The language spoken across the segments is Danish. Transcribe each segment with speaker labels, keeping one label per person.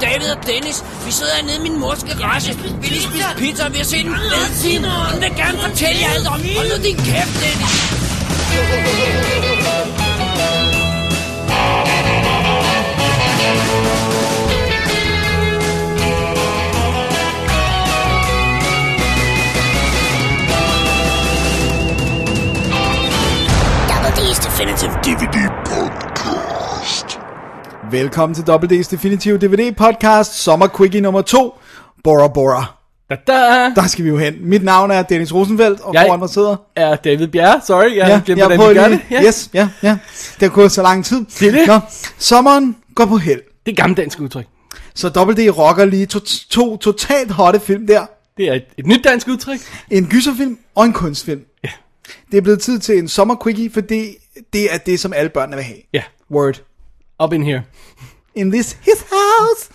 Speaker 1: David og Dennis. Vi sidder nede i min mors garage. Vi lige spise pizza, og vi har set en fed film. Hun vil gerne fortælle jer alt om. Hold nu din kæft, Dennis.
Speaker 2: Double D's Definitive DVD Podcast.
Speaker 3: Velkommen til WD's Definitive DVD Podcast, sommer quickie nummer 2, Bora Bora.
Speaker 4: Da, da.
Speaker 3: Der skal vi jo hen. Mit navn er Dennis Rosenfeldt, og
Speaker 4: Jeg-
Speaker 3: foran mig sidder...
Speaker 4: Er David Bjerre, sorry, jeg ja, glemte,
Speaker 3: er
Speaker 4: hvordan
Speaker 3: på
Speaker 4: vi gør
Speaker 3: lige-
Speaker 4: det. Ja.
Speaker 3: Yes, ja, ja. Det har gået så lang tid.
Speaker 4: Det er det.
Speaker 3: Nå, sommeren går på held.
Speaker 4: Det er gammeldansk udtryk.
Speaker 3: Så WD rocker lige to, to totalt hotte film der.
Speaker 4: Det er et, et nyt dansk udtryk.
Speaker 3: En gyserfilm og en kunstfilm.
Speaker 4: Ja.
Speaker 3: Det er blevet tid til en sommer quickie, for det, det er det, som alle børnene vil have.
Speaker 4: Ja,
Speaker 3: Word.
Speaker 4: up in here.
Speaker 3: In this his house.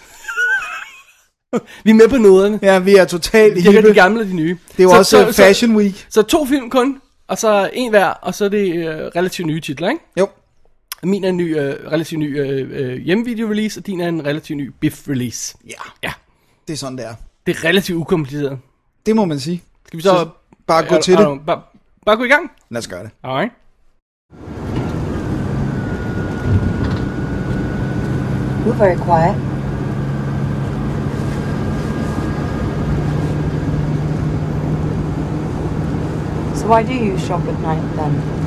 Speaker 4: Vi er med på noderne.
Speaker 3: Ja, vi er totalt
Speaker 4: Det er
Speaker 3: hippe.
Speaker 4: de gamle og de nye.
Speaker 3: Det er jo også øh, Fashion Week.
Speaker 4: Så, så to film kun, og så en hver, og så er det øh, relativt nye titler, ikke?
Speaker 3: Jo.
Speaker 4: Min er en ny, øh, relativt ny øh, øh, hjemmevideo-release, og din er en relativt ny biff-release.
Speaker 3: Ja,
Speaker 4: Ja,
Speaker 3: det er sådan, det er.
Speaker 4: det er relativt ukompliceret.
Speaker 3: Det må man sige.
Speaker 4: Skal vi så...
Speaker 3: Så bare gå
Speaker 4: Er-
Speaker 3: til
Speaker 4: er
Speaker 3: det.
Speaker 4: du- Bare, bare gå i gang.
Speaker 3: Lad os gøre det.
Speaker 4: Alright.
Speaker 5: You're very quiet. So why do you shop at night then?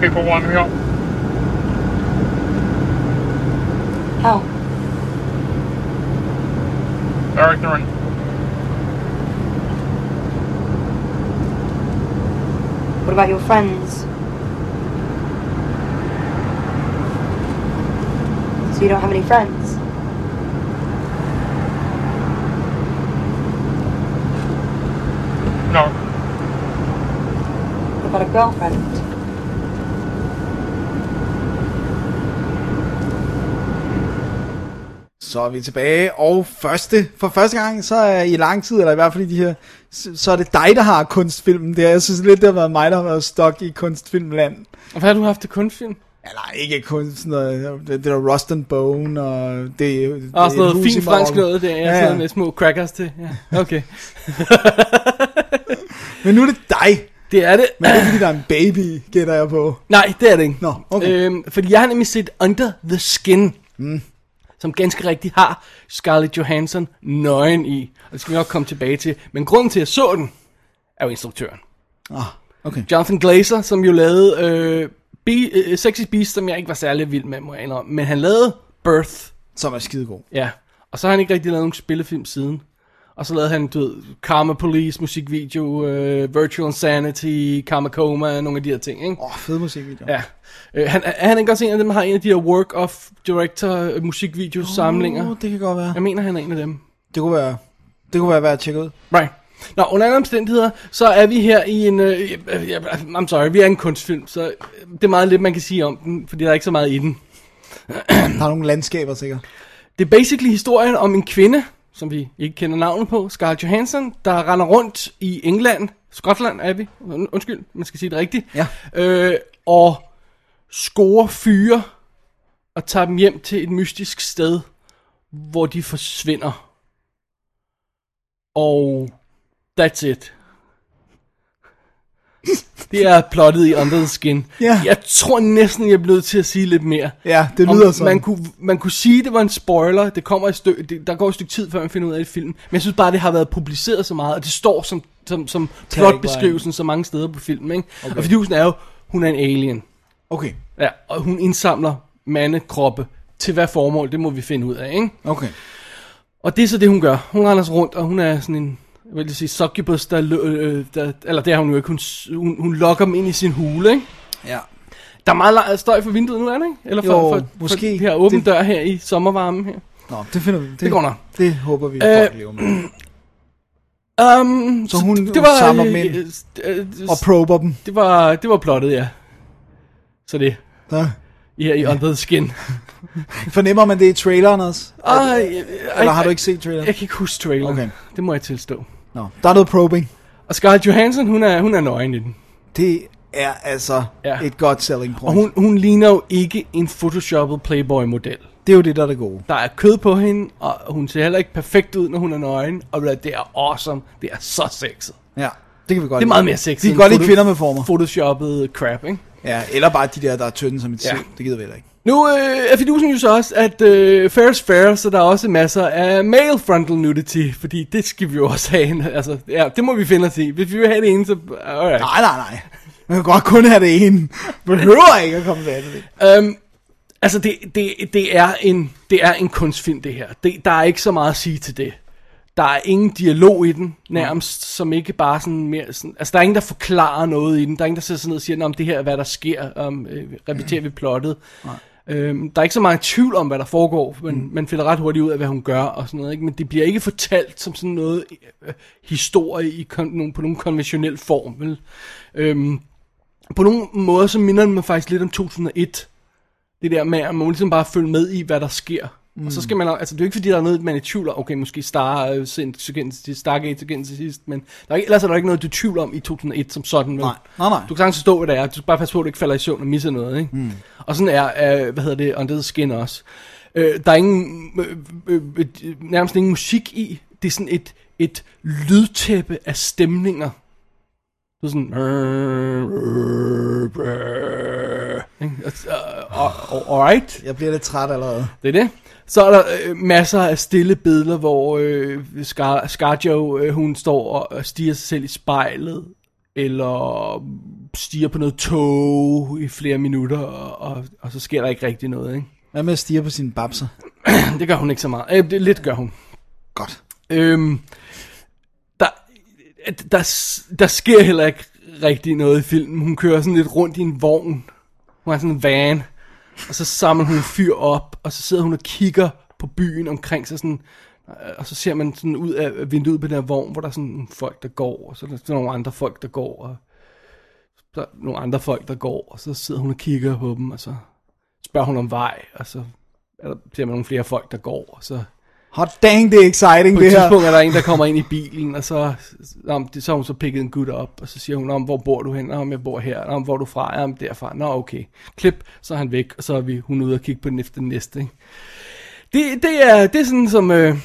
Speaker 6: people want me up.
Speaker 5: How?
Speaker 6: They're ignorant.
Speaker 5: What about your friends? So you don't have any friends?
Speaker 6: No,
Speaker 5: What about a girlfriend?
Speaker 3: Så er vi tilbage, og første, for første gang, så er i lang tid, eller i hvert fald i de her, så så er det dig, der har kunstfilmen der. Jeg synes lidt, det har været mig, der har været stok i kunstfilmland.
Speaker 4: Og hvad har du haft til kunstfilm?
Speaker 3: Eller ikke kun sådan noget, det, det der Rust and Bone, og det, det
Speaker 4: Og sådan
Speaker 3: et
Speaker 4: noget
Speaker 3: hus i
Speaker 4: fint
Speaker 3: Marokko.
Speaker 4: fransk noget der, ja,
Speaker 3: Ja, ja.
Speaker 4: ja. sådan med små crackers til. Ja. Okay.
Speaker 3: Men nu er det dig,
Speaker 4: Det er det.
Speaker 3: men det er fordi, der er en baby, gætter jeg på.
Speaker 4: Nej, det er det ikke.
Speaker 3: Nå, okay.
Speaker 4: øhm, fordi jeg har nemlig set Under the Skin, mm. som ganske rigtigt har Scarlett Johansson nøgen i. Og det skal vi nok komme tilbage til. Men grunden til, at jeg så den, er jo instruktøren.
Speaker 3: Ah, okay.
Speaker 4: Jonathan Glazer, som jo lavede øh, Be- øh, Sexy Beast, som jeg ikke var særlig vild med, må jeg indrømme. Men han lavede Birth,
Speaker 3: Som er skidegod.
Speaker 4: Ja, og så har han ikke rigtig lavet nogen spillefilm siden. Og så lavede han, du ved, Karma Police, musikvideo, øh, Virtual Insanity, Karma Coma, nogle af de her ting, ikke?
Speaker 3: Åh, oh, fed musikvideo.
Speaker 4: Ja. Øh, han, er han ikke også en af dem, der har en af de her work of director øh, musikvideosamlinger?
Speaker 3: Oh, det kan godt være.
Speaker 4: Jeg mener, han er en af dem.
Speaker 3: Det kunne være, det kunne være værd at tjekke ud.
Speaker 4: Right. Nå, under alle omstændigheder, så er vi her i en... Øh, øh, øh, I'm sorry, vi er en kunstfilm, så øh, det er meget lidt, man kan sige om den, fordi der er ikke så meget i den.
Speaker 3: Der er nogle landskaber sikkert.
Speaker 4: Det er basically historien om en kvinde, som vi ikke kender navnet på, Scarlett Johansson, der render rundt i England, Skotland er vi, Und- undskyld, man skal sige det rigtigt,
Speaker 3: Ja.
Speaker 4: øh, og scorer fyre og tager dem hjem til et mystisk sted, hvor de forsvinder. Og that's it. Det er plottet i Under the Skin.
Speaker 3: Ja.
Speaker 4: Jeg tror næsten, jeg bliver nødt til at sige lidt mere.
Speaker 3: Ja, det
Speaker 4: Om
Speaker 3: lyder sådan.
Speaker 4: Man kunne, man kunne sige, det var en spoiler. Det kommer et stykke, det, der går et stykke tid, før man finder ud af det i filmen. Men jeg synes bare, det har været publiceret så meget, og det står som, som, som
Speaker 3: Tagline.
Speaker 4: plotbeskrivelsen så mange steder på filmen. Ikke? Okay. Og fordi hun er jo, hun er en alien.
Speaker 3: Okay,
Speaker 4: Ja, og hun indsamler mandekroppe. Til hvad formål, det må vi finde ud af, ikke?
Speaker 3: okay.
Speaker 4: Og det er så det, hun gør. Hun render sig rundt, og hun er sådan en, jeg vil lige sige, succubus, der, lø- øh, der, eller det er hun jo ikke, hun, s- hun, hun lokker dem ind i sin hule, ikke?
Speaker 3: Ja.
Speaker 4: Der er meget la- støj for vinduet nu, er det ikke? Eller for,
Speaker 3: Jo,
Speaker 4: for,
Speaker 3: måske.
Speaker 4: For det her åben
Speaker 3: Det-
Speaker 4: det... dør her i sommervarmen her.
Speaker 3: Nå, det finder vi. Det,
Speaker 4: går nok.
Speaker 3: Det håber vi,
Speaker 4: Øh,
Speaker 3: at folk lever med.
Speaker 4: Um,
Speaker 3: Så hun- hun samler dem ind. Og
Speaker 4: og
Speaker 3: prober dem.
Speaker 4: øh, det, var, det var plottet, ja. Så det,
Speaker 3: Ja.
Speaker 4: ja, i Under the Skin.
Speaker 3: Fornemmer man det i traileren også?
Speaker 4: Ej,
Speaker 3: Eller har du ikke set traileren?
Speaker 4: Jeg kan ikke huske traileren.
Speaker 3: Okay.
Speaker 4: Okay. Det må jeg tilstå.
Speaker 3: Nå, der er noget probing.
Speaker 4: Og Scarlett Johansson, hun er, hun er nøgen i den.
Speaker 3: Det er altså
Speaker 4: Ja.
Speaker 3: ja. et godt selling point.
Speaker 4: Og hun, hun ligner jo ikke en photoshoppet Playboy-model.
Speaker 3: Det er jo det, der er det gode.
Speaker 4: Der er kød på hende, og hun ser heller ikke perfekt ud, når hun er nøgen. Og ved du hvad, det er awesome. Det er så sexet.
Speaker 3: Ja, det kan vi godt
Speaker 4: Det er
Speaker 3: lide.
Speaker 4: meget mere sexet.
Speaker 3: Vi kan
Speaker 4: end
Speaker 3: godt lide
Speaker 4: photo-
Speaker 3: kvinder med former.
Speaker 4: Photoshoppet crap, ikke?
Speaker 3: Ja, eller bare de der, der er tynde som et
Speaker 4: Ja.
Speaker 3: ja. Det gider vi heller ikke.
Speaker 4: Nu øh, er fidusen jo så også, at øh, fair is fair, så der er også masser af male frontal nudity, fordi det skal vi jo også have. Altså, ja, det må vi finde os i. Hvis vi vil have det ene, så... Alright.
Speaker 3: Nej, nej, nej. Man kan godt kun have det ene. Behøver ikke at komme til det.
Speaker 4: Øhm, altså, det, det, det, er en, det er en kunstfilm, det her. Det, der er ikke så meget at sige til det. Der er ingen dialog i den, nærmest, som ikke bare sådan mere... Sådan, altså, der er ingen, der forklarer noget i den. Der er ingen, der sætter sig ned og siger, "Nå, men det her er, hvad der sker. Um, øh, repeterer vi plottet. Øhm, der er ikke så meget tvivl om, hvad der foregår, men mm. man finder ret hurtigt ud af, hvad hun gør og sådan noget. Ikke? Men det bliver ikke fortalt som sådan noget øh, historie i kon- nogen, på nogen konventionel form. Vel? Øhm, på nogle måder, så minder den mig faktisk lidt om 2001. Det der med, at man må ligesom bare følge med i, hvad der sker. Mm. Og så skal man, altså det er jo ikke fordi, der er noget, man er i tvivl om. Okay, måske Star, øh, sind- til gen- til Stargate igen til sidst, men der er ikke, ellers er der ikke noget, du er i tvivl om i 2001 som sådan. vel?
Speaker 3: Nej, nej, nej.
Speaker 4: Du kan sagtens forstå, hvad det er. Du skal bare passe på, at du ikke falder i søvn og misser noget, ikke? Mm. Og sådan er, øh, hvad hedder det, Under the Skin også. Øh, der er ingen, øh, øh, øh, nærmest ingen musik i. Det er sådan et, et lydtæppe af stemninger. Det er sådan... "Øh, Ikke? Og- og- og- Alright,
Speaker 3: Jeg bliver lidt træt allerede.
Speaker 4: det er det. Så er der øh, masser af stille billeder, hvor øh, Scar- Scarjo, øh, hun står og, og stiger sig selv i spejlet, eller stiger på noget tog i flere minutter, og, og, og så sker der ikke rigtig noget. Ikke?
Speaker 3: Hvad med at stige på sine babser?
Speaker 4: Det gør hun ikke så meget. Øh, det, lidt gør hun.
Speaker 3: Godt.
Speaker 4: Øhm, der, der, der sker heller ikke rigtig noget i filmen. Hun kører sådan lidt rundt i en vogn. Hun har sådan en van. Og så samler hun en fyr op, og så sidder hun og kigger på byen omkring sig sådan... øh, Og så ser man sådan ud af vinduet på den her vogn, hvor der er sådan nogle folk, der går, og så er der sådan nogle andre folk, der går, og så er der nogle andre folk, der går, og så sidder hun og kigger på dem, og så spørger hun om vej, og så er der, ser man nogle flere folk, der går, og så
Speaker 3: Hot dang, det er exciting,
Speaker 4: på
Speaker 3: det
Speaker 4: et
Speaker 3: her.
Speaker 4: tidspunkt er der en, der kommer ind i bilen, og så, om, det, så har hun så pikket en gut op, og så siger hun, om hvor bor du hen? Om jeg bor her. Om hvor er du fra? Om derfra. Nå, okay. Klip, så er han væk, og så er vi, hun ude og kigge på den efter den næste. Ikke? Det, det, er, det er sådan, som, øh,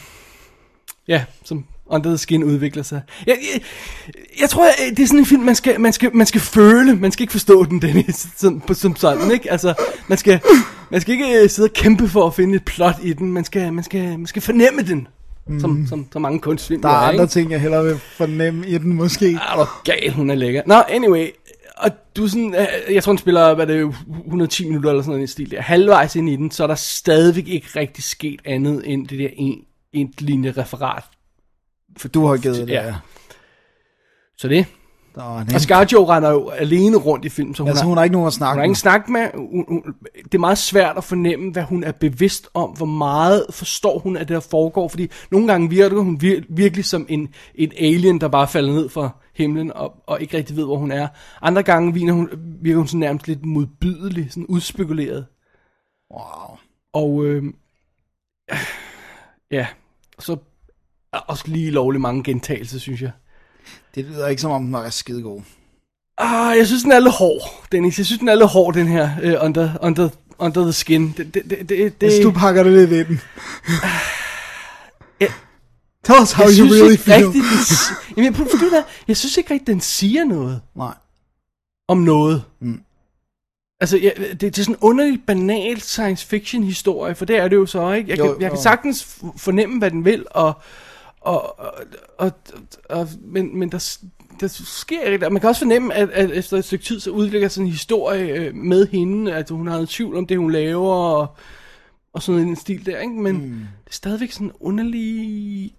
Speaker 4: ja, som Under the Skin udvikler sig. Jeg, jeg, jeg tror, jeg, det er sådan en film, man skal, man, skal, man skal føle. Man skal ikke forstå den, Dennis, som, på- som sådan, ikke? Altså, man skal, man skal ikke øh, sidde og kæmpe for at finde et plot i den. Man skal, man skal, man skal fornemme den. Som, som, som mange kunstfilm
Speaker 3: Mm. Der er
Speaker 4: jo
Speaker 3: andre
Speaker 4: ikke?
Speaker 3: ting, jeg hellere vil fornemme i den måske.
Speaker 4: Er du gal, hun er lækker. Nå, anyway. Og du er sådan, øh, jeg tror hun spiller, hvad det er, 110 minutter eller sådan noget i den stil der. Halvvejs ind i den, så er der stadigvæk ikke rigtig sket andet end det der en, en linje referat.
Speaker 3: For du har givet det.
Speaker 4: Ja.
Speaker 3: Ja.
Speaker 4: Så det.
Speaker 3: Der var
Speaker 4: Og Scarjo render jo alene rundt i filmen, Mm. så hun,
Speaker 3: altså,
Speaker 4: har,
Speaker 3: hun har ikke nogen at
Speaker 4: hun
Speaker 3: snakke
Speaker 4: har
Speaker 3: med.
Speaker 4: ingen snak med. Hun, hun, det er meget svært at fornemme, hvad hun er bevidst om, hvor meget forstår hun, at det der foregår. Fordi nogle gange virker hun vir, virkelig som en, en alien, der bare er faldet ned fra himlen og, og ikke rigtig ved, hvor hun er. Andre gange virker hun, virker hun sådan nærmest lidt modbydelig, sådan udspekuleret.
Speaker 3: Wow.
Speaker 4: Og øh, ja, så er også lige lovlig mange gentagelser, synes jeg.
Speaker 3: Det lyder ikke som om, den var skidegod.
Speaker 4: Ah, jeg synes, den er lidt hård, Dennis. Jeg synes, den er lidt hård, den her uh, under, under, under the Skin. Det, det, det, det,
Speaker 3: Hvis Altså, du
Speaker 4: det,
Speaker 3: pakker det lidt i den.
Speaker 4: Ja.
Speaker 3: Tell us how
Speaker 4: jeg
Speaker 3: you
Speaker 4: synes
Speaker 3: really
Speaker 4: ikke
Speaker 3: feel.
Speaker 4: rigtigt, den si- Jamen, prøv, forstå det her. jeg synes ikke rigtigt, den siger noget
Speaker 3: Nej.
Speaker 4: om noget.
Speaker 3: Mm.
Speaker 4: Altså, jeg, det, det er sådan en underligt banal science fiction historie, for det er det jo så, ikke? Jeg,
Speaker 3: Jo,
Speaker 4: kan, jeg
Speaker 3: jo.
Speaker 4: kan sagtens f- fornemme, hvad den vil, og, og, og, og, og men, men der, s- der sker ikke, og man kan også fornemme, at, at efter et stykke tid, så udvikler sådan en historie øh, med hende, at hun har noget tvivl om det, hun laver, og, og sådan en stil der, ikke? Men mm. det er stadigvæk sådan underlig...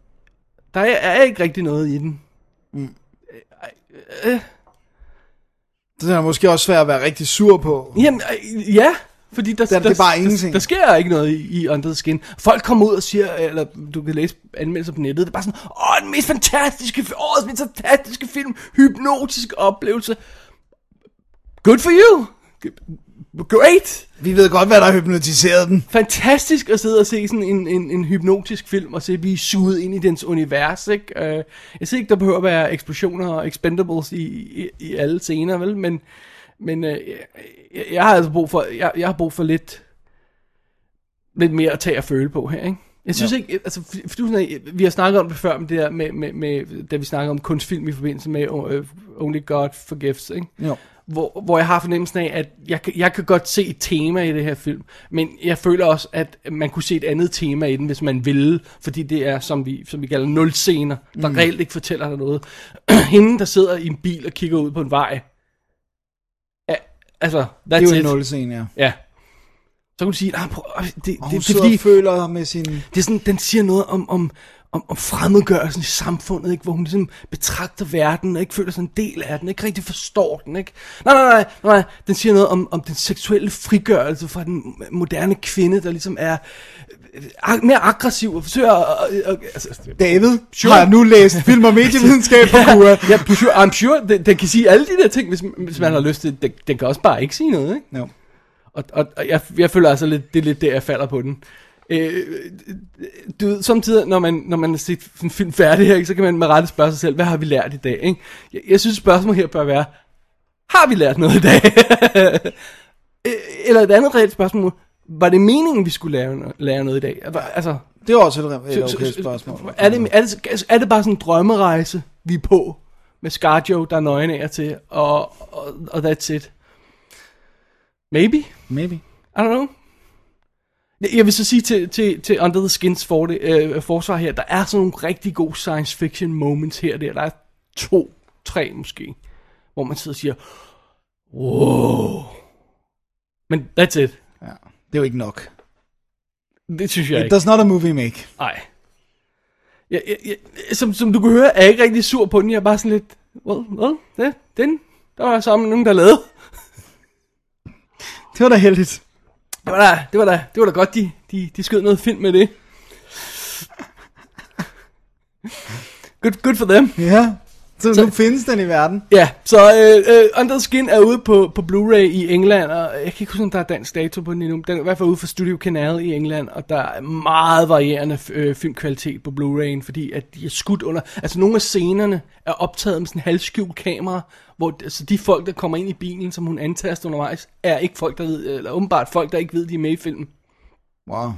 Speaker 4: Der er, er ikke rigtig noget i den.
Speaker 3: Det er måske også svært at være rigtig sur på.
Speaker 4: Jamen, øh, ja. Fordi der,
Speaker 3: Der-
Speaker 4: der,
Speaker 3: det er bare
Speaker 4: der,
Speaker 3: ingenting.
Speaker 4: der sker ikke noget i, i Under the Skin. Folk kommer ud og siger, eller du kan læse anmeldelser på nettet, det er bare sådan, åh, den mest fantastiske, fi- årets mest fantastiske film, hypnotisk oplevelse. Good for you. Great.
Speaker 3: Vi ved godt, hvad der har hypnotiseret den.
Speaker 4: Fantastisk at sidde og se sådan en, en, en hypnotisk film, og se at blive suget ind i dens univers, ikke? Øh, Jeg siger ikke, der behøver at være eksplosioner og expendables i, i, i alle scener, vel? Men Men øh, jeg, jeg har altså brug for, jeg, jeg har brug for lidt, lidt mere at tage og føle på her, ikke? Jeg synes ja. ikke, altså, for, for, for, vi har snakket om det før, men det der med, med, med, da vi snakkede om kunstfilm i forbindelse med øh, Only God Forgives, ikke?
Speaker 3: Jo.
Speaker 4: hvor, hvor jeg har fornemmelsen af, at jeg, kan- jeg kan godt se et tema i det her film, men jeg føler også, at man kunne se et andet tema i den, hvis man ville, fordi det er, som vi, som vi kalder nulscener, der mm. reelt ikke fortæller dig noget. Hende, der sidder i en bil og kigger ud på en vej, ja, altså, that's
Speaker 3: Det er jo
Speaker 4: it.
Speaker 3: en nulscene, ja.
Speaker 4: Ja. Så kunne du sige, nah, prøv, øh, det, det,
Speaker 3: Og
Speaker 4: det,
Speaker 3: hun
Speaker 4: det, er
Speaker 3: sidder
Speaker 4: fordi,
Speaker 3: og føler med sin...
Speaker 4: det er sådan, den siger noget om, om, om, om fremmedgørelsen i samfundet, ikke? hvor hun ligesom betragter verden og ikke føler sig en del af den, ikke rigtig forstår den. Ikke? Nej, nej, nej, nej, den siger noget om, om den seksuelle frigørelse fra den moderne kvinde, der ligesom er øh, ag- mere aggressiv og forsøger at... at, at altså,
Speaker 3: David sure. har nu læst film- og medievidenskab på KUA.
Speaker 4: ja, ja, sure, I'm sure, den, den kan sige alle de der ting, hvis, hvis man har lyst til det. Den, den kan også bare ikke sige noget, ikke?
Speaker 3: Jo.
Speaker 4: Og, og, og jeg, jeg føler altså lidt, det er lidt der, jeg falder på den. Øh, du ved, samtidig, når man, når man har set en film færdig her, ikke, så kan man med rette spørge sig selv, hvad har vi lært i dag? Ikke? Jeg, jeg synes, spørgsmålet her bør være, har vi lært noget i dag? Øh, Eller et andet reelt spørgsmål, var det meningen, vi skulle lære, no- lære noget i dag? Var- Altså,
Speaker 3: Det er også et, et okay spørgsmål.
Speaker 4: er, det, er, det, er det bare sådan en drømmerejse, vi er på, med Scarjo, der er nøgen af og til, og, og, og that's it? Maybe?
Speaker 3: Maybe.
Speaker 4: I don't know. Jeg- Jeg vil så sige til, til, til Under the Skins for det, øh, forsvar her, der er sådan nogle rigtig gode science fiction moments her og der. Der er to, tre måske, hvor man sidder og siger, wow. Men that's it.
Speaker 3: Det er jo ikke nok.
Speaker 4: Det synes jeg
Speaker 3: It
Speaker 4: ikke.
Speaker 3: does not a movie make.
Speaker 4: Nej. Jeg, jeg, jeg, som, som du kan høre, er jeg ikke rigtig sur på den. Jeg er bare sådan lidt, well, well, det, den, der var sammen nogen, der lavede.
Speaker 3: Det var da heldigt.
Speaker 4: Det var da, det var da, det var da godt, de, de, de skød noget film med det. Good, good for them.
Speaker 3: Ja. Så,
Speaker 4: Så-
Speaker 3: nu findes den i verden.
Speaker 4: Ja, så øh, øh, Under the Skin er ude på, på Blu-ray i England, og jeg kan ikke huske, om der er dansk dato på den endnu. men Den er i hvert fald ude for Studio Canal i England, og der er meget varierende øh, filmkvalitet på Blu-rayen, fordi at de er skudt under... Altså, nogle af scenerne er optaget med sådan en halvskjult kamera, hvor altså, de folk, der kommer ind i bilen, som hun antaster undervejs, er ikke folk, der ved... Eller åbenbart folk, der ikke ved, de er med i filmen.
Speaker 3: Wow.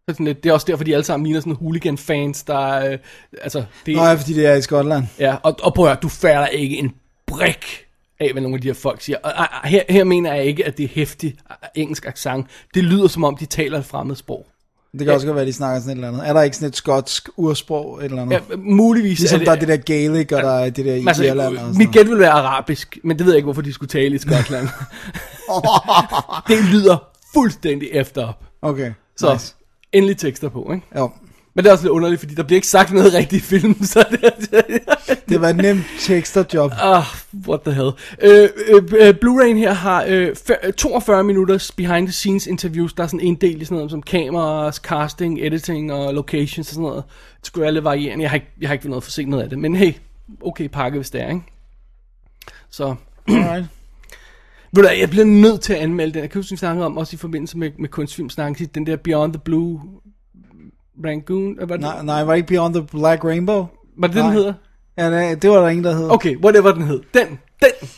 Speaker 4: Så Sådan lidt, det er også derfor, de alle sammen ligner sådan hooligan-fans, der... Øh, altså, det,
Speaker 3: Nå ja, fordi det er i Skotland.
Speaker 4: ja, og, og prøv at høre, du fatter ikke en brik af, hvad nogle af de her folk siger. Og, og, og her, her mener jeg ikke, at det er hæftig øh, engelsk accent. Det lyder, som om de taler et fremmed sprog.
Speaker 3: Det kan også godt være, de snakker sådan et eller andet. Er der ikke sådan et skotsk ursprog et eller andet?
Speaker 4: Ja, muligvis
Speaker 3: Ligesom
Speaker 4: er det,
Speaker 3: der er det der Gaelic, og der er det der i
Speaker 4: altså,
Speaker 3: Irland og sådan
Speaker 4: Mit gæt vil være arabisk, men det ved jeg ikke, hvorfor de skulle tale i Skotland. det lyder fuldstændig efter op.
Speaker 3: noget. Okay,
Speaker 4: Så
Speaker 3: nice.
Speaker 4: endelig tekster på, ikke?
Speaker 3: Jo.
Speaker 4: Men det er også lidt underligt, fordi der bliver ikke sagt noget rigtigt i filmen, så det,
Speaker 3: Det var et nemt teksterjob.
Speaker 4: Ah, what the hell. Øh, øh, øh, Blu-ray'en her har øh, fe- øh, 42 minutters behind the scenes interviews. Der er sådan en del i sådan noget som kameras, casting, editing og locations og sådan noget. Det skulle være lidt varierende. Jeg har ikke, jeg har ikke været noget for sent noget af det, men hey, okay pakke, hvis det er, ikke? Så,
Speaker 3: Alright.
Speaker 4: ved du hvad, jeg bliver nødt til at anmelde den. Jeg kan huske, vi snakkede om også i forbindelse med, med kunstfilmsnakken, den der Beyond the Blue Rangoon, øh, var det,
Speaker 3: Nej, nej, var det ikke Beyond the Black Rainbow?
Speaker 4: var det, den
Speaker 3: nej.
Speaker 4: hedder?
Speaker 3: Ja, det, det var der ingen, der hed.
Speaker 4: Okay, whatever den hed. Den, den.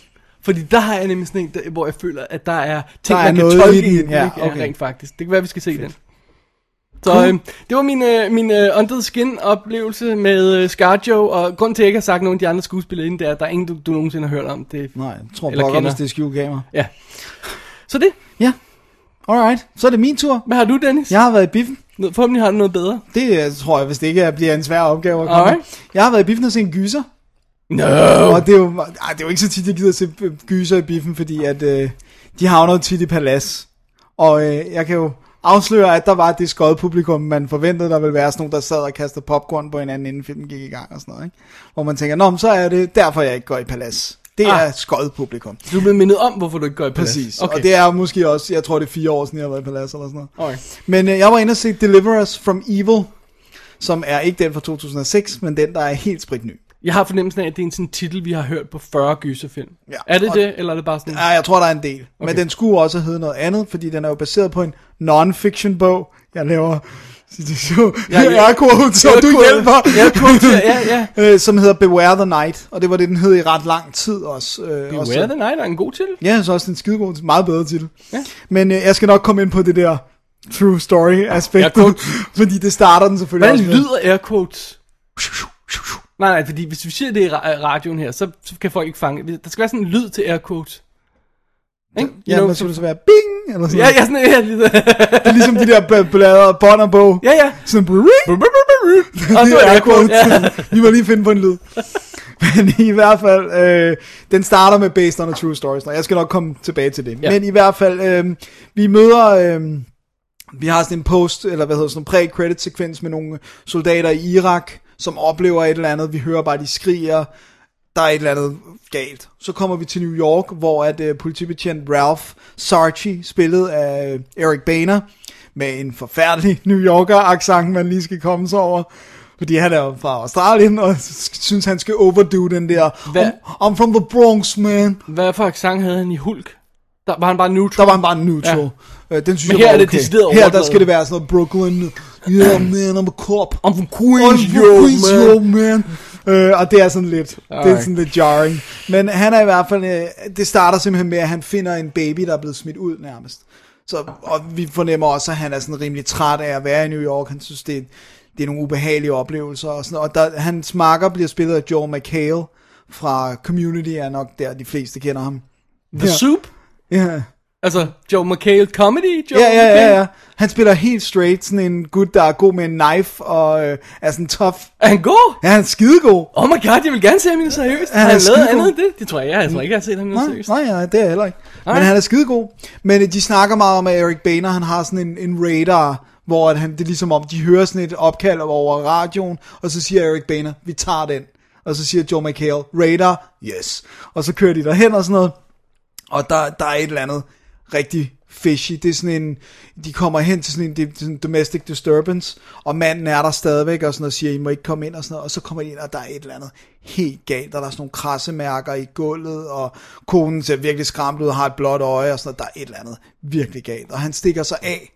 Speaker 4: Fordi der har jeg nemlig sådan en, der, hvor jeg føler, at der er
Speaker 3: Der
Speaker 4: ting, der
Speaker 3: er
Speaker 4: man kan
Speaker 3: noget
Speaker 4: tolke
Speaker 3: i den, ja,
Speaker 4: ikke?
Speaker 3: okay.
Speaker 4: rent faktisk. Det kan være, vi skal se den. Så øh, det var min, øh, min øh, Under the Skin oplevelse med øh, Scarjo, og grunden til, at jeg ikke har sagt nogen af de andre skuespillere inden, det er, at der er ingen, du, du nogensinde har hørt om. Det.
Speaker 3: Nej, jeg tror
Speaker 4: Eller
Speaker 3: bare godt,
Speaker 4: kender.
Speaker 3: hvis det er skjult kamera.
Speaker 4: Ja. Så det.
Speaker 3: Ja, alright. Så er det min tur.
Speaker 4: Hvad har du, Dennis?
Speaker 3: Jeg har været i biffen.
Speaker 4: Nå, Forhåbentlig har du noget bedre.
Speaker 3: Det øh, tror jeg, hvis det ikke er- bliver en svær opgave at komme.
Speaker 4: Alright.
Speaker 3: Jeg har været i biffen og set en gyser.
Speaker 4: No.
Speaker 3: Og det er, jo, ej, det er jo ikke så tit, jeg gider se øh, gyser i biffen, fordi at, øh, de havner jo tit i palads. Og øh, jeg kan jo afsløre, at der var det skøde publikum, man forventede, der ville være sådan nogen, der sad og kastede popcorn på hinanden, inden filmen gik i gang og sådan noget. Ikke? Hvor man tænker, nå, men så er det derfor, jeg ikke går i palads. Det er
Speaker 4: Ah.
Speaker 3: ah. skøde publikum.
Speaker 4: Du er blevet mindet om, hvorfor du ikke går i palads.
Speaker 3: Præcis. Okay.
Speaker 4: Okay.
Speaker 3: Og det er jo måske også, jeg tror det er fire år siden, jeg har været i palads eller sådan noget.
Speaker 4: okay.
Speaker 3: Men øh, jeg var inde og se Deliver Us From Evil, som er ikke den fra 2006, men den, der er helt spritny.
Speaker 4: Jeg har fornemmelsen af, at det er en sådan titel, vi har hørt på 40 gyserfilm.
Speaker 3: Ja.
Speaker 4: Er det
Speaker 3: Og-
Speaker 4: det, eller er det bare sådan...
Speaker 3: Ja, jeg tror, der er en del. Okay. Men den skulle også hedde noget andet, fordi den er jo baseret på en non-fiction bog. Jeg laver Så det er jo
Speaker 4: Ja,
Speaker 3: ja,
Speaker 4: ja.
Speaker 3: ja. airquote, så du
Speaker 4: Airquote,
Speaker 3: hjælper.
Speaker 4: airquote, ja, ja.
Speaker 3: Øh, som hedder Beware the Night, og det var det, den hed i ret lang tid også. Øh, også,
Speaker 4: Beware the Night er en god titel.
Speaker 3: Ja, så også en skidegod, meget bedre titel.
Speaker 4: Ja.
Speaker 3: Men øh, jeg skal nok komme ind på det der true story aspekt,
Speaker 4: Airquote.
Speaker 3: fordi det starter den selvfølgelig
Speaker 4: Hvordan
Speaker 3: også med.
Speaker 4: lyder air quotes? Nej, nej, fordi hvis vi siger det i ra- øh, radioen her, så, så kan folk ikke fange. Der skal være sådan en lyd til air quotes. Ikke?
Speaker 3: Ja,
Speaker 4: You
Speaker 3: no,
Speaker 4: know,
Speaker 3: men så vil det så være bing, eller sådan
Speaker 4: ja,
Speaker 3: noget.
Speaker 4: ja, sådan en her lille...
Speaker 3: Det er ligesom de der bl- blader, bånd og bog.
Speaker 4: ja, ja.
Speaker 3: Sådan, brrrr.
Speaker 4: Og
Speaker 3: det
Speaker 4: nu
Speaker 3: var
Speaker 4: er
Speaker 3: air
Speaker 4: air quotes.
Speaker 3: quotes.
Speaker 4: Ja.
Speaker 3: Vi må lige finde på en lyd. Men i hvert fald, øh, den starter med Based on a True Story. Så jeg skal nok komme tilbage til det.
Speaker 4: Ja.
Speaker 3: Ja. Men i hvert fald, øh, vi møder... Øh, vi har sådan en post, eller hvad hedder sådan en præ-credit sekvens med nogle soldater i Irak, som oplever et eller andet. Vi hører bare, de skriger. Der er et eller andet galt. Så kommer vi til New York, hvor at øh, politibetjent Ralph Sarchi, spillet af øh, Eric Boehner, med en forfærdelig New Yorker-accent, man lige skal komme sig over. Fordi han er jo fra Australien, og synes, han skal overdo den der,
Speaker 4: Hvad?
Speaker 3: I'm, I'm from the Bronx, man.
Speaker 4: Hvad for sang havde han i Hulk? Der var han bare
Speaker 3: Der
Speaker 4: neutral.
Speaker 3: var han bare neutral. Ja. Øh, den synes
Speaker 4: Men
Speaker 3: jeg var
Speaker 4: her er det
Speaker 3: okay.
Speaker 4: decideret
Speaker 3: Her der
Speaker 4: overdrevet.
Speaker 3: skal det være sådan noget Brooklyn. Yeah, man, I'm a cop.
Speaker 4: I'm from Queens,
Speaker 3: I'm
Speaker 4: yo,
Speaker 3: from Queens,
Speaker 4: man.
Speaker 3: yo, man. Øh, og det er sådan lidt, det er
Speaker 4: Alright.
Speaker 3: sådan lidt jarring. Men han er i hvert fald, øh, det starter simpelthen med, at han finder en baby, der er blevet smidt ud nærmest. Så, og vi fornemmer også, at han er sådan rimelig træt af at være i New York. Han synes, det er, det er nogle ubehagelige oplevelser. Og, sådan, noget. og der, hans marker bliver spillet af Joel McHale fra Community, er nok der, de fleste kender ham.
Speaker 4: The
Speaker 3: Ja.
Speaker 4: Soup?
Speaker 3: Ja. Yeah.
Speaker 4: Altså, Joe McHale comedy? Joe
Speaker 3: Ja, ja,
Speaker 4: McHale?
Speaker 3: ja, ja. Han spiller helt straight, sådan en gut, der er god med en knife og øh, er sådan tough.
Speaker 4: Er han god?
Speaker 3: Ja, han er skidegod.
Speaker 4: Oh my god, jeg vil gerne se ham i noget seriøst.
Speaker 3: han
Speaker 4: Har han
Speaker 3: er
Speaker 4: lavet
Speaker 3: skidegod.
Speaker 4: andet end det? Det tror jeg, jeg, jeg tror ikke, jeg har set ham i noget
Speaker 3: Nej,
Speaker 4: seriøst.
Speaker 3: nej, nej, det er jeg heller ikke. Men
Speaker 4: Nej.
Speaker 3: han er skidegod. Men øh, de snakker meget om, at Eric Boehner, han har sådan en, en radar, hvor at han, det er ligesom om, de hører sådan et opkald over radioen, og så siger Eric Boehner, vi tager den. Og så siger Joe McHale, radar, yes. Og så kører de derhen og sådan noget. Og der, der er et eller andet rigtig fishy. Det er sådan en, de kommer hen til sådan en, det er sådan en domestic disturbance, og manden er der stadigvæk og sådan noget, siger, I må ikke komme ind og sådan noget, og så kommer de ind, og der er et eller andet helt galt, og der er sådan nogle krassemærker i gulvet, og konen ser virkelig skræmt ud og har et blåt øje og sådan noget, der er et eller andet virkelig galt, og han stikker sig af,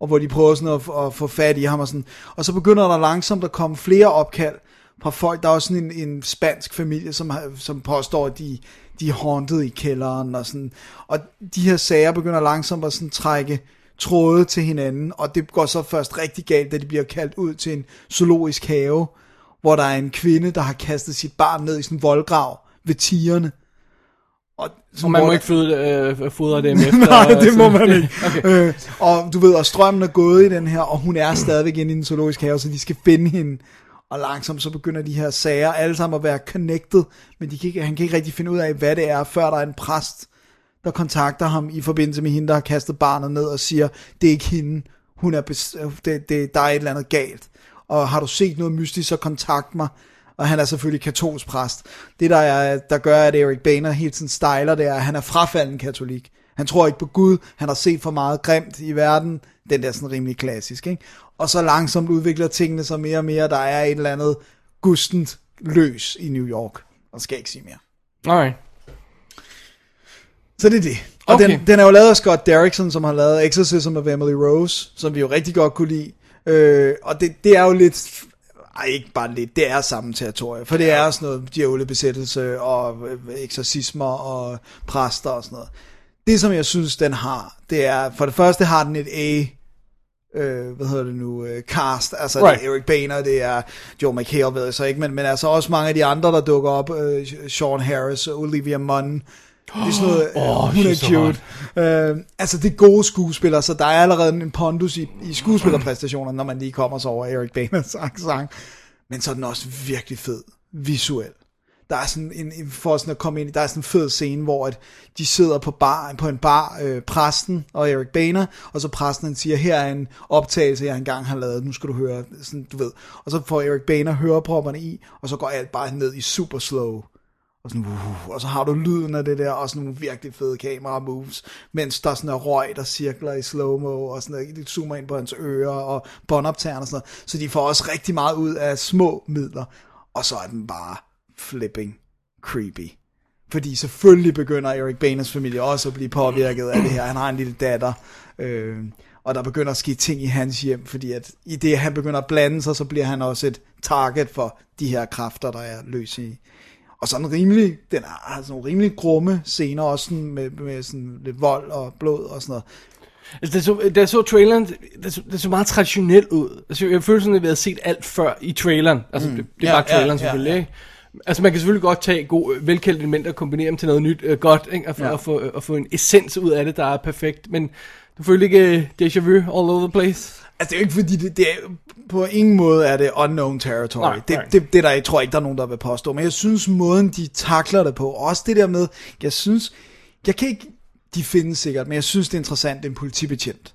Speaker 3: og hvor de prøver sådan at, at få fat i ham og sådan, og så begynder der langsomt at komme flere opkald fra folk, der er også sådan en, en spansk familie, som, har- som påstår, at de, de er haunted i kælderen og sådan, og de her sager begynder langsomt at sådan trække tråde til hinanden, og det går så først rigtig galt, da de bliver kaldt ud til en zoologisk have, hvor der er en kvinde, der har kastet sit barn ned i sådan en voldgrav ved tigerne. Og,
Speaker 4: Og man må ikke føde, øh, fodre dem efter.
Speaker 3: Nej, det må
Speaker 4: så-
Speaker 3: man ikke. okay. øh, og du ved, og strømmen er gået i den her, og hun er stadigvæk inde i den zoologiske have, så de skal finde hende. Og langsomt så begynder de her sager alle sammen at være connected, men de kan ikke, han kan ikke rigtig finde ud af, hvad det er, før der er en præst, der kontakter ham i forbindelse med hende, der har kastet barnet ned og siger, det er ikke hende, hun er bes- øh, det, det, der er et eller andet galt. Og har du set noget mystisk, så kontakt mig. Og han er selvfølgelig katolsk præst. Det, der, er, der gør, at Eric Boehner hele tiden stejler, det er, at han er frafalden katolik. Han tror ikke på Gud, han har set for meget grimt i verden. Den der sådan rimelig klassisk, ikke? Og så langsomt udvikler tingene sig mere og mere. Der er et eller andet gustent løs i New York. Og skal jeg ikke sige mere.
Speaker 4: Alright.
Speaker 3: Så det er det. Og
Speaker 4: Okay.
Speaker 3: okay. den, den er jo lavet af Scott Derrickson, som har lavet Exorcism of Emily Rose, som vi jo rigtig godt kunne lide. Øh, og det, det er jo lidt... Ej, ikke bare lidt, det er samme territorie, for det er sådan noget djævlebesættelse og øh, eksorcismer og præster og sådan noget. Det, som jeg synes, den har, det er, for det første har den et A, øh, hvad hedder det nu, øh, cast, altså
Speaker 4: Right.
Speaker 3: right. det er Eric Boehner, det er Joe McHale, ved jeg så ikke, men, men altså også mange af de andre, der dukker op, øh, Sean Harris, Olivia Munn, det er sådan noget,
Speaker 4: Åh,
Speaker 3: oh, hun
Speaker 4: she's
Speaker 3: er
Speaker 4: so
Speaker 3: cute. Øh, altså, det er gode skuespillere, så der er allerede en pondus i, i skuespillerpræstationer, når man lige kommer sig over Eric Baners accent. Men så er den også virkelig fed visuel. Der er sådan en, en- for sådan at komme ind i, der er sådan en fed scene, hvor at de sidder på, bar, på en bar, øh, præsten og Eric Boehner, og så præsten han siger, her er en optagelse, jeg engang har lavet, nu skal du høre, sådan, du ved. Og så får Eric Boehner hørepropperne i, og så går alt bare ned i super slow. Og, sådan, uh, og så har du lyden af det der, og sådan nogle virkelig fede kamera moves, mens der sådan er røg, der cirkler i slow-mo, og sådan noget, det zoomer ind på hans ører, og båndoptageren og sådan noget. Så de får også rigtig meget ud af små midler, og så er den bare flipping creepy. Fordi selvfølgelig begynder Eric Baners familie også at blive påvirket af det her. Han har en lille datter, øh, og der begynder at ske ting i hans hjem, fordi at i det, han begynder at blande sig, så bliver han også et target for de her kræfter, der er løs i. Og sådan rimelig, den har sådan nogle rimelig grumme scener, også sådan med, med sådan lidt vold og blod og sådan noget.
Speaker 4: Altså, det så, da jeg så traileren, det så, det så meget traditionelt ud. Altså, jeg føler sådan, at vi havde set alt før i traileren. Altså, mm. det, det er
Speaker 3: Ja,
Speaker 4: bare traileren
Speaker 3: ja, ja,
Speaker 4: selvfølgelig,
Speaker 3: ja.
Speaker 4: ikke? Altså, man kan selvfølgelig godt tage gode, øh, velkendte elementer og kombinere dem til noget nyt øh, godt, ikke? Og, for,
Speaker 3: Ja.
Speaker 4: ja. og, få, øh, og få en essens ud af det, der er perfekt. Men du føler ikke øh, déjà vu all over the place?
Speaker 3: Altså, det er jo ikke fordi, det, det er, på ingen måde er det unknown territory.
Speaker 4: Nej,
Speaker 3: det,
Speaker 4: nej.
Speaker 3: Det, det er der, jeg tror ikke, der er nogen, der vil påstå. Men jeg synes, måden de takler det på, også det der med, jeg synes, jeg kan ikke, de findes sikkert, men jeg synes, det er interessant, det er en politibetjent.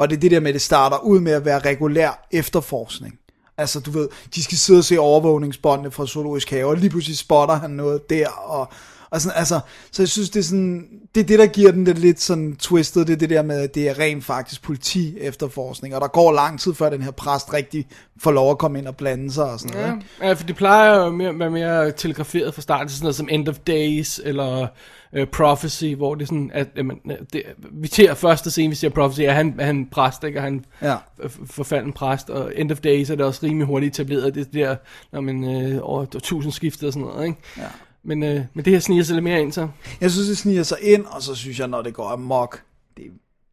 Speaker 3: Og det er det der med, at det starter ud med at være regulær efterforskning. Altså, du ved, de skal sidde og se overvågningsbåndene fra zoologisk have, og lige pludselig spotter han noget der, og, og sådan, altså, så jeg synes, det er sådan, det er det, der giver den det lidt sådan twistet, det er det der med, at det er rent faktisk politi efterforskning, og der går lang tid, før den her præst rigtig får lov at komme ind og blande sig og sådan noget.
Speaker 4: Ja.
Speaker 3: ikke?
Speaker 4: ja, for det plejer jo mere, at være mere telegraferet fra starten, til sådan noget som End of Days eller øh, Prophecy, hvor det er sådan, at jamen, øh, det, vi ser første scene, vi ser Prophecy, er han, er han præst, ikke? Og han
Speaker 3: Ja.
Speaker 4: f- f- forfalden præst, og End of Days er det også rimelig hurtigt etableret, det der, når man øh, over tusindskiftet og sådan noget, ikke? Ja. Men, øh, men det her sniger sig lidt mere ind, så.
Speaker 3: Jeg synes, det sniger sig ind, og så synes jeg, når det går amok, det,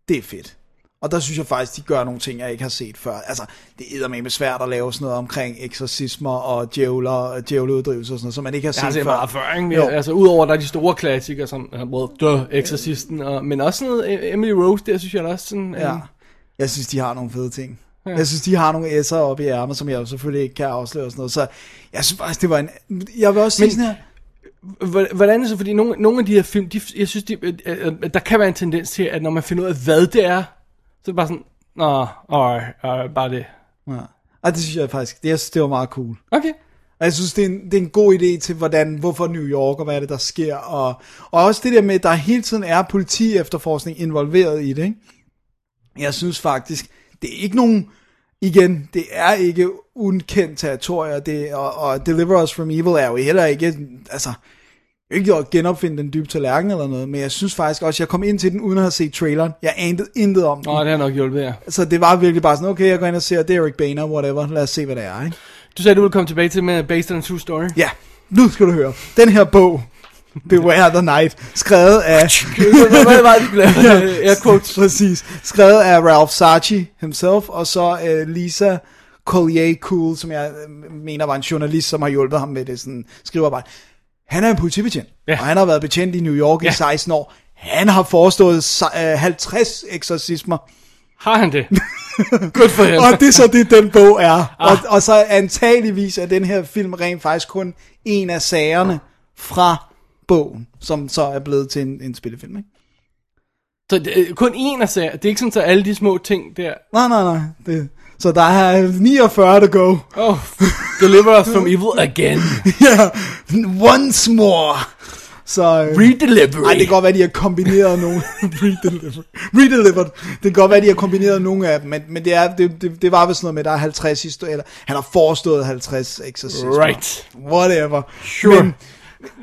Speaker 3: det er fedt. Og der synes jeg faktisk, de gør nogle ting, jeg ikke har set før. Altså, det er med svært at lave sådan noget omkring eksorcismer og djævler og djævleuddrivelser og sådan noget, som man ikke har set,
Speaker 4: Jeg har set
Speaker 3: før.
Speaker 4: meget før, ikke?
Speaker 3: Jo.
Speaker 4: Jo. Altså, udover der er de store klassikere, som er både The Exorcisten, og, men også sådan noget øh, Emily Rose, der synes jeg da også sådan...
Speaker 3: Ja.
Speaker 4: øh,
Speaker 3: Jeg synes, de har nogle fede ting. Ja. Jeg synes, de har nogle S'er oppe i ærmet, som jeg jo selvfølgelig ikke kan afsløre og sådan noget. Så jeg synes faktisk, det var en... Jeg vil også sige
Speaker 4: Men-
Speaker 3: sådan her...
Speaker 4: Hvor- Hvordan er det så, fordi nogle, nogle af de her film, de, jeg synes, de, øh, øh, der kan være en tendens til, at når man finder ud af, hvad det er, så er det bare sådan, nå, alright, alright, bare det.
Speaker 3: Ja. Og det synes jeg faktisk, det, jeg synes, det var meget cool.
Speaker 4: Okay.
Speaker 3: Og jeg synes, det er, en, det er en god idé til, hvordan, hvorfor New York, og hvad er det, der sker. Og, og også det der med, at der hele tiden er politi efterforskning involveret i det. Ikke? Jeg synes faktisk, det er ikke nogen... Igen, det er ikke ukendt territorier, det, og, og Deliver Us From Evil er jo heller ikke... Altså, ikke at genopfinde den dybe tallerken eller noget, men jeg synes faktisk også, at jeg kom ind til den uden at have set traileren. Jeg anede intet om den.
Speaker 4: Nå, det har nok hjulpet jer.
Speaker 3: Så det var virkelig bare sådan, okay, jeg går ind og ser, det er Eric Boehner, whatever, lad os se, hvad det er, ikke?
Speaker 4: Du sagde, du ville komme tilbage til med Based on a True Story.
Speaker 3: Ja, nu skal du høre. Den her bog, Beware the Night, skrevet af...
Speaker 4: Hvad var det, du lavede?
Speaker 3: Air quotes. Præcis. Skrevet af Ralph Sarchi himself, og så øh, Lisa Collier Cool, som jeg øh, mener var en journalist, som har hjulpet ham med det sådan skrivearbejde. Han er en politibetjent, ja.
Speaker 4: Ja.
Speaker 3: og han har været betjent i New York ja. i
Speaker 4: Ja.
Speaker 3: 16 år. Han har forestået se- øh, 50 eksorcismer.
Speaker 4: Har han det? Good for him. Ah.
Speaker 3: Og det er så det, den bog er. Og, og så antageligvis er den her film rent faktisk kun en af sagerne fra bogen, som så er blevet til en, en spillefilm, ikke?
Speaker 4: Så det, er kun én af sager. Det er ikke sådan, at alle de små ting der...
Speaker 3: Nej, nej, nej. Det, så der er 49 to go.
Speaker 4: Oh, deliver us from evil again.
Speaker 3: Ja, once more. Så, øh,
Speaker 4: Redelivery.
Speaker 3: Ej, det kan godt være, de har kombineret nogle... Redelivered. Redelivered. Det kan godt være, de har kombineret nogle af dem, men, men det, er, det, det, det var vist noget med, at der er 50 historier. eller Han har forestået 50 eksorcismer.
Speaker 4: Right.
Speaker 3: Whatever.
Speaker 4: Sure.
Speaker 3: Men,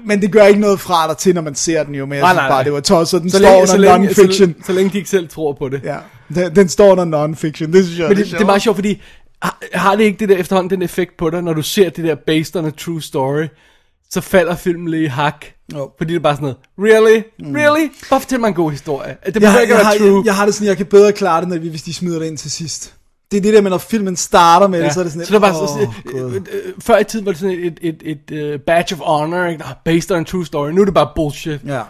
Speaker 3: men det gør ikke noget fra dig til, når man ser den jo, men jeg
Speaker 4: Nej,
Speaker 3: synes
Speaker 4: nej,
Speaker 3: bare,
Speaker 4: nej.
Speaker 3: det var tosset. Den så står under non-fiction.
Speaker 4: Så, så længe de ikke selv tror på det.
Speaker 3: Ja, den, den står under non-fiction, det synes jeg
Speaker 4: Men det, det
Speaker 3: sjovt.
Speaker 4: er meget sjovt, fordi har, har det ikke det der efterhånden den effekt på dig, når du ser det der based on a true story, så falder filmen lige i hak.
Speaker 3: Jo.
Speaker 4: Fordi det er bare sådan noget, really? Mm. Really? Bare fortæl mig en god historie. Det
Speaker 3: jeg,
Speaker 4: behøver
Speaker 3: jeg,
Speaker 4: ikke at
Speaker 3: jeg, har,
Speaker 4: være true.
Speaker 3: jeg, jeg har det sådan, jeg kan bedre klare det, når vi, hvis de smider det ind til sidst. Det er det der med, når filmen starter med det, så er det sådan
Speaker 4: så det var bare
Speaker 3: åh,
Speaker 4: sådan,
Speaker 3: Gud.
Speaker 4: oh, før i tiden var det sådan et, et, et, et uh, badge of honor, ikke? Nå, based on a true story. Nu er det bare bullshit.
Speaker 3: Ja.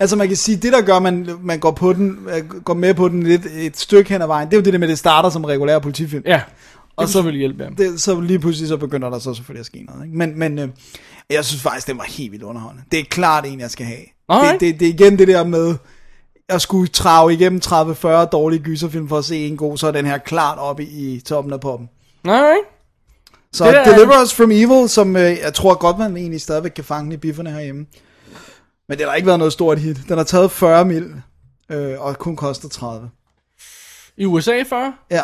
Speaker 3: Altså man kan sige, det der gør, at man, man går, på den, øh, går med på den lidt et stykke hen ad vejen, det er jo det der med, at det starter som regulær politifilm.
Speaker 4: Ja, og så vil det hjælpe ham.
Speaker 3: det, så lige pludselig så begynder der så selvfølgelig at ske noget. Ikke? Men, men øh, jeg synes faktisk, den var helt vildt underholdende. Det er klart en, jeg skal have. Det,
Speaker 4: Alright.
Speaker 3: det, det er igen det der med, at skulle trave igennem 30-40 dårlige gyserfilm for at se en god, så er den her klart oppe i toppen af poppen.
Speaker 4: Alright.
Speaker 3: Så
Speaker 4: Det der er-
Speaker 3: Deliver Us From Evil, som øh, jeg tror godt, man egentlig stadigvæk kan fange i bifferne herhjemme. Men det har ikke været noget stort hit. Den har taget 40 mil, øh, og kun koster 30.
Speaker 4: I USA før?
Speaker 3: Ja.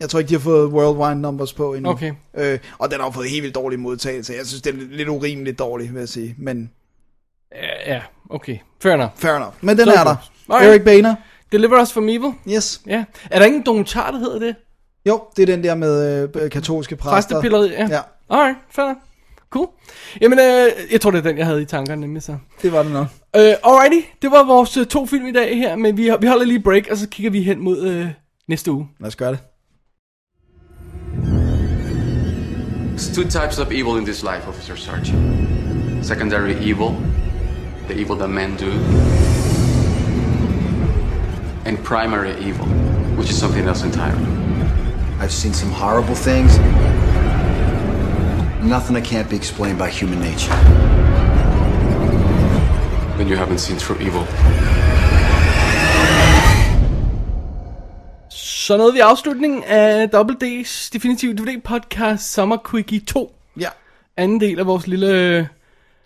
Speaker 3: Jeg tror ikke, de har fået worldwide numbers på endnu.
Speaker 4: Mm. Okay.
Speaker 3: Øh, og den har jo fået helt vildt dårlig modtagelse. Jeg synes, den er lidt urimeligt dårlig, vil jeg sige. Men
Speaker 4: Ja, ja, okay. Fair enough.
Speaker 3: fair enough. Men den
Speaker 4: Så
Speaker 3: er
Speaker 4: er det
Speaker 3: der.
Speaker 4: godt. Alright.
Speaker 3: Eric Boehner.
Speaker 4: Deliver Us From Evil?
Speaker 3: Yes.
Speaker 4: Ja. Er der ingen dokumentar, der hedder det?
Speaker 3: Jo, det er den der med øh, katolske præster.
Speaker 4: Præstepilleri? Ja.
Speaker 3: Ja.
Speaker 4: Alright, fair. enough. Cool. Jamen, øh, jeg tror, det er den, jeg havde i tankerne nemlig så.
Speaker 3: Det var det nok.
Speaker 4: Øh, alrighty, det var vores øh, to film i dag her, men vi, vi holder lige break, og så kigger vi hen mod øh, næste uge.
Speaker 3: Lad os gøre det.
Speaker 7: There's two types of evil in this life, Officer Sergeant. Secondary evil, the evil that men do, and primary evil, which is something else entirely.
Speaker 8: I've seen some horrible things. Nothing that can't be explained by human nature.
Speaker 7: Then you haven't seen true evil.
Speaker 4: Så nåede vi afslutningen af Double D's Definitive DVD Podcast Summer Quickie 2.
Speaker 3: Ja.
Speaker 4: Anden del af vores lille... Ja.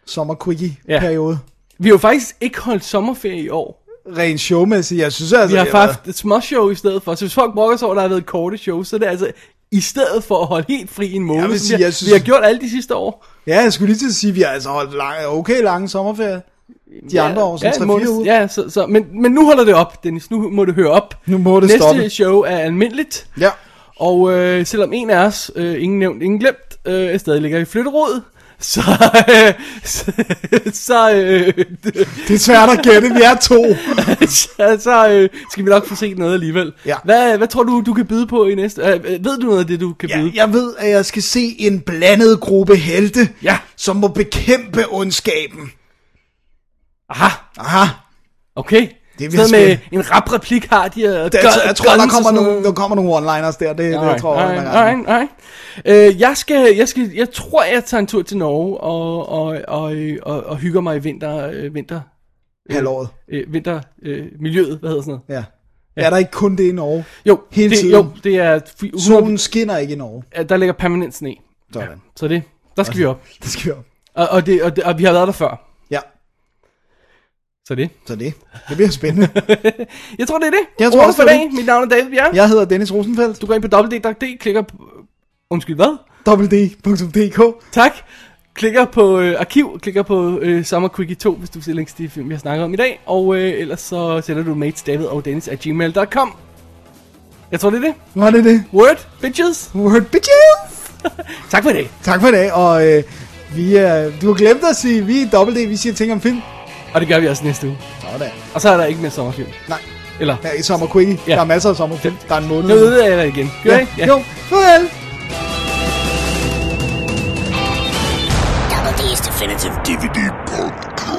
Speaker 3: Sommer-quickie-periode.
Speaker 4: Vi har jo faktisk ikke holdt sommerferie i år.
Speaker 3: Rent showmæssigt, jeg synes altså...
Speaker 4: Vi har
Speaker 3: det været-
Speaker 4: haft et småshow i stedet for. Så hvis folk brokker sig over, at der har været korte show, så er det altså i stedet for at holde helt fri i en måned.
Speaker 3: Jeg vil
Speaker 4: som
Speaker 3: sige,
Speaker 4: vi, har-
Speaker 3: jeg synes-
Speaker 4: vi har gjort alle de sidste år.
Speaker 3: Ja, jeg skulle lige til at sige, at vi har altså holdt lang, okay lange sommerferie. De andre år, som
Speaker 4: en
Speaker 3: 3-4
Speaker 4: måned-
Speaker 3: uger.
Speaker 4: Ja, så, så, men, men nu holder det op, Dennis. Nu må det høre op.
Speaker 3: Nu må det
Speaker 4: Næste
Speaker 3: stoppe.
Speaker 4: show er almindeligt.
Speaker 3: Ja.
Speaker 4: Og øh, selvom en af os, øh, ingen nævnt, ingen glemt, øh, stadig ligger i flytteråd, så, øh, så, så, øh,
Speaker 3: Det er svært at gætte, vi er to.
Speaker 4: så, så øh, skal vi nok få set noget alligevel.
Speaker 3: Ja.
Speaker 4: Hvad, hvad tror du, du kan byde på i næste? Øh, ved du noget af det, du kan byde?
Speaker 3: Ja, jeg ved, at jeg skal se en blandet gruppe helte,
Speaker 4: Ja.
Speaker 3: som må bekæmpe ondskaben.
Speaker 4: Aha,
Speaker 3: Aha,
Speaker 4: okay.
Speaker 3: Det
Speaker 4: Det
Speaker 3: bliver
Speaker 4: er med en rap replik har de. øh, Og
Speaker 3: det, jeg, jeg tror, der kommer, nogle,
Speaker 4: nogle...
Speaker 3: der kommer nogle one-liners der. Det, det jeg tror jeg,
Speaker 4: alright,
Speaker 3: man regner med.
Speaker 4: alright, alright. Øh, jeg, skal, jeg, skal, jeg tror, jeg tager en tur til Norge og, og, og, øh, og, og hygger mig i vinter, øh, vinter,
Speaker 3: halvåret.
Speaker 4: øh, vinter øh, miljøet, hvad hedder sådan noget.
Speaker 3: Ja. Er der ikke kun det i Norge?
Speaker 4: Jo,
Speaker 3: Hele
Speaker 4: det,
Speaker 3: tiden.
Speaker 4: jo, det er, fi- 100
Speaker 3: Solen skinner ikke i Norge.
Speaker 4: at der ligger permanent sne.
Speaker 3: Sådan.
Speaker 4: Så det, der skal vi op.
Speaker 3: Det skal vi op.
Speaker 4: Og, og, det, og, det, og vi har været der før.
Speaker 3: Ja,
Speaker 4: Så det.
Speaker 3: så det. Det bliver spændende.
Speaker 4: Jeg tror, det er det.
Speaker 3: Jeg tror
Speaker 4: Ordet
Speaker 3: også,
Speaker 4: for
Speaker 3: det er
Speaker 4: dag. Mit navn er David Bjerg.
Speaker 3: Jeg hedder Dennis Rosenfeldt.
Speaker 4: Du går ind på www.d, klikker på... Undskyld, hvad?
Speaker 3: www.dk.
Speaker 4: Tak. Klikker på øh, arkiv, klikker på øh, Summer Quickie 2, hvis du ser links til de film, jeg snakker om i dag. Og øh, ellers så sender du mail til David og Dennis at gmail.com. Jeg tror, det er det.
Speaker 3: Var det det?
Speaker 4: Word, bitches.
Speaker 3: Word bitches!
Speaker 4: Tak for i dag.
Speaker 3: Tak for i dag, og øh, vi er, du har glemt at sige, vi er dobbelt D, vi siger ting om film.
Speaker 4: Og det gør vi også næste uge.
Speaker 3: Sådan.
Speaker 4: Og så er der ikke mere sommerfilm.
Speaker 3: Nej,
Speaker 4: Eller...
Speaker 3: her i sommer quickie.
Speaker 4: Ja.
Speaker 3: Der er masser af sommerfilm. Der er en måned.
Speaker 4: Nu ved jeg det igen. Gør
Speaker 3: Ja.
Speaker 4: ja. I?
Speaker 3: Jo, farvel.
Speaker 2: Double D's Definitive
Speaker 7: DVD podcast.